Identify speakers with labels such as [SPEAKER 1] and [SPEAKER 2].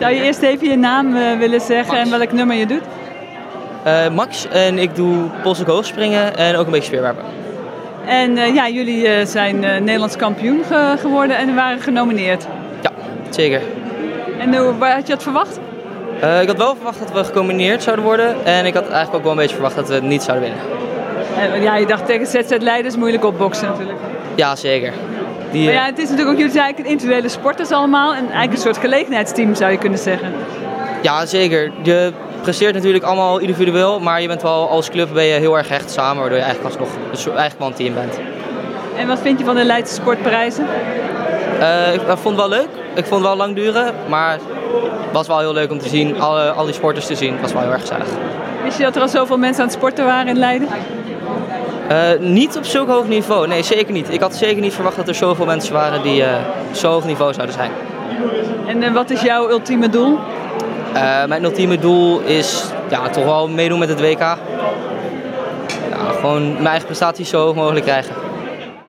[SPEAKER 1] Zou je eerst even je naam eh, willen zeggen en welk nummer je doet?
[SPEAKER 2] Eh, Max en ik doe polshoek hoogspringen en ook een beetje speerwerpen.
[SPEAKER 1] En eh, ja, jullie eh, zijn eh, Nederlands kampioen ge- geworden en waren genomineerd.
[SPEAKER 2] Ja, zeker.
[SPEAKER 1] En hoe waar had je dat verwacht?
[SPEAKER 2] Eh, ik had wel verwacht dat we gecombineerd zouden worden en ik had eigenlijk ook wel een beetje verwacht dat we het niet zouden winnen.
[SPEAKER 1] Eh, ja, je dacht tegen ZZ-leiders moeilijk opboksen natuurlijk.
[SPEAKER 2] Ja, zeker. Die,
[SPEAKER 1] Maar
[SPEAKER 2] eh,
[SPEAKER 1] ja, het is natuurlijk ook, jullie zijn eigenlijk een individuele sporters allemaal. En eigenlijk een soort gelegenheidsteam zou je kunnen zeggen.
[SPEAKER 2] eh, Ja, zeker. Je presteert natuurlijk allemaal individueel, maar je bent wel als club ben je heel erg hecht samen, waardoor je eigenlijk alsnog een soort- eigenlijk wel een team bent.
[SPEAKER 1] En wat vind je van de Leidse sportprijzen?
[SPEAKER 2] Eh, ik ik vond het wel leuk. Ik vond het wel lang duren, maar het was wel heel leuk om te zien, alle, al die sporters te zien. Het was wel heel erg gezellig.
[SPEAKER 1] Wist je dat er al zoveel mensen aan het sporten waren in Leiden?
[SPEAKER 2] Eh, niet op zulk hoog niveau, nee zeker niet. Ik had zeker niet verwacht dat er zoveel mensen waren die eh, zo hoog niveau zouden zijn.
[SPEAKER 1] En eh, wat is jouw ultieme doel?
[SPEAKER 2] Eh, mijn ultieme doel is ja, toch wel meedoen met het WK. Ja, gewoon mijn eigen prestaties zo hoog mogelijk krijgen.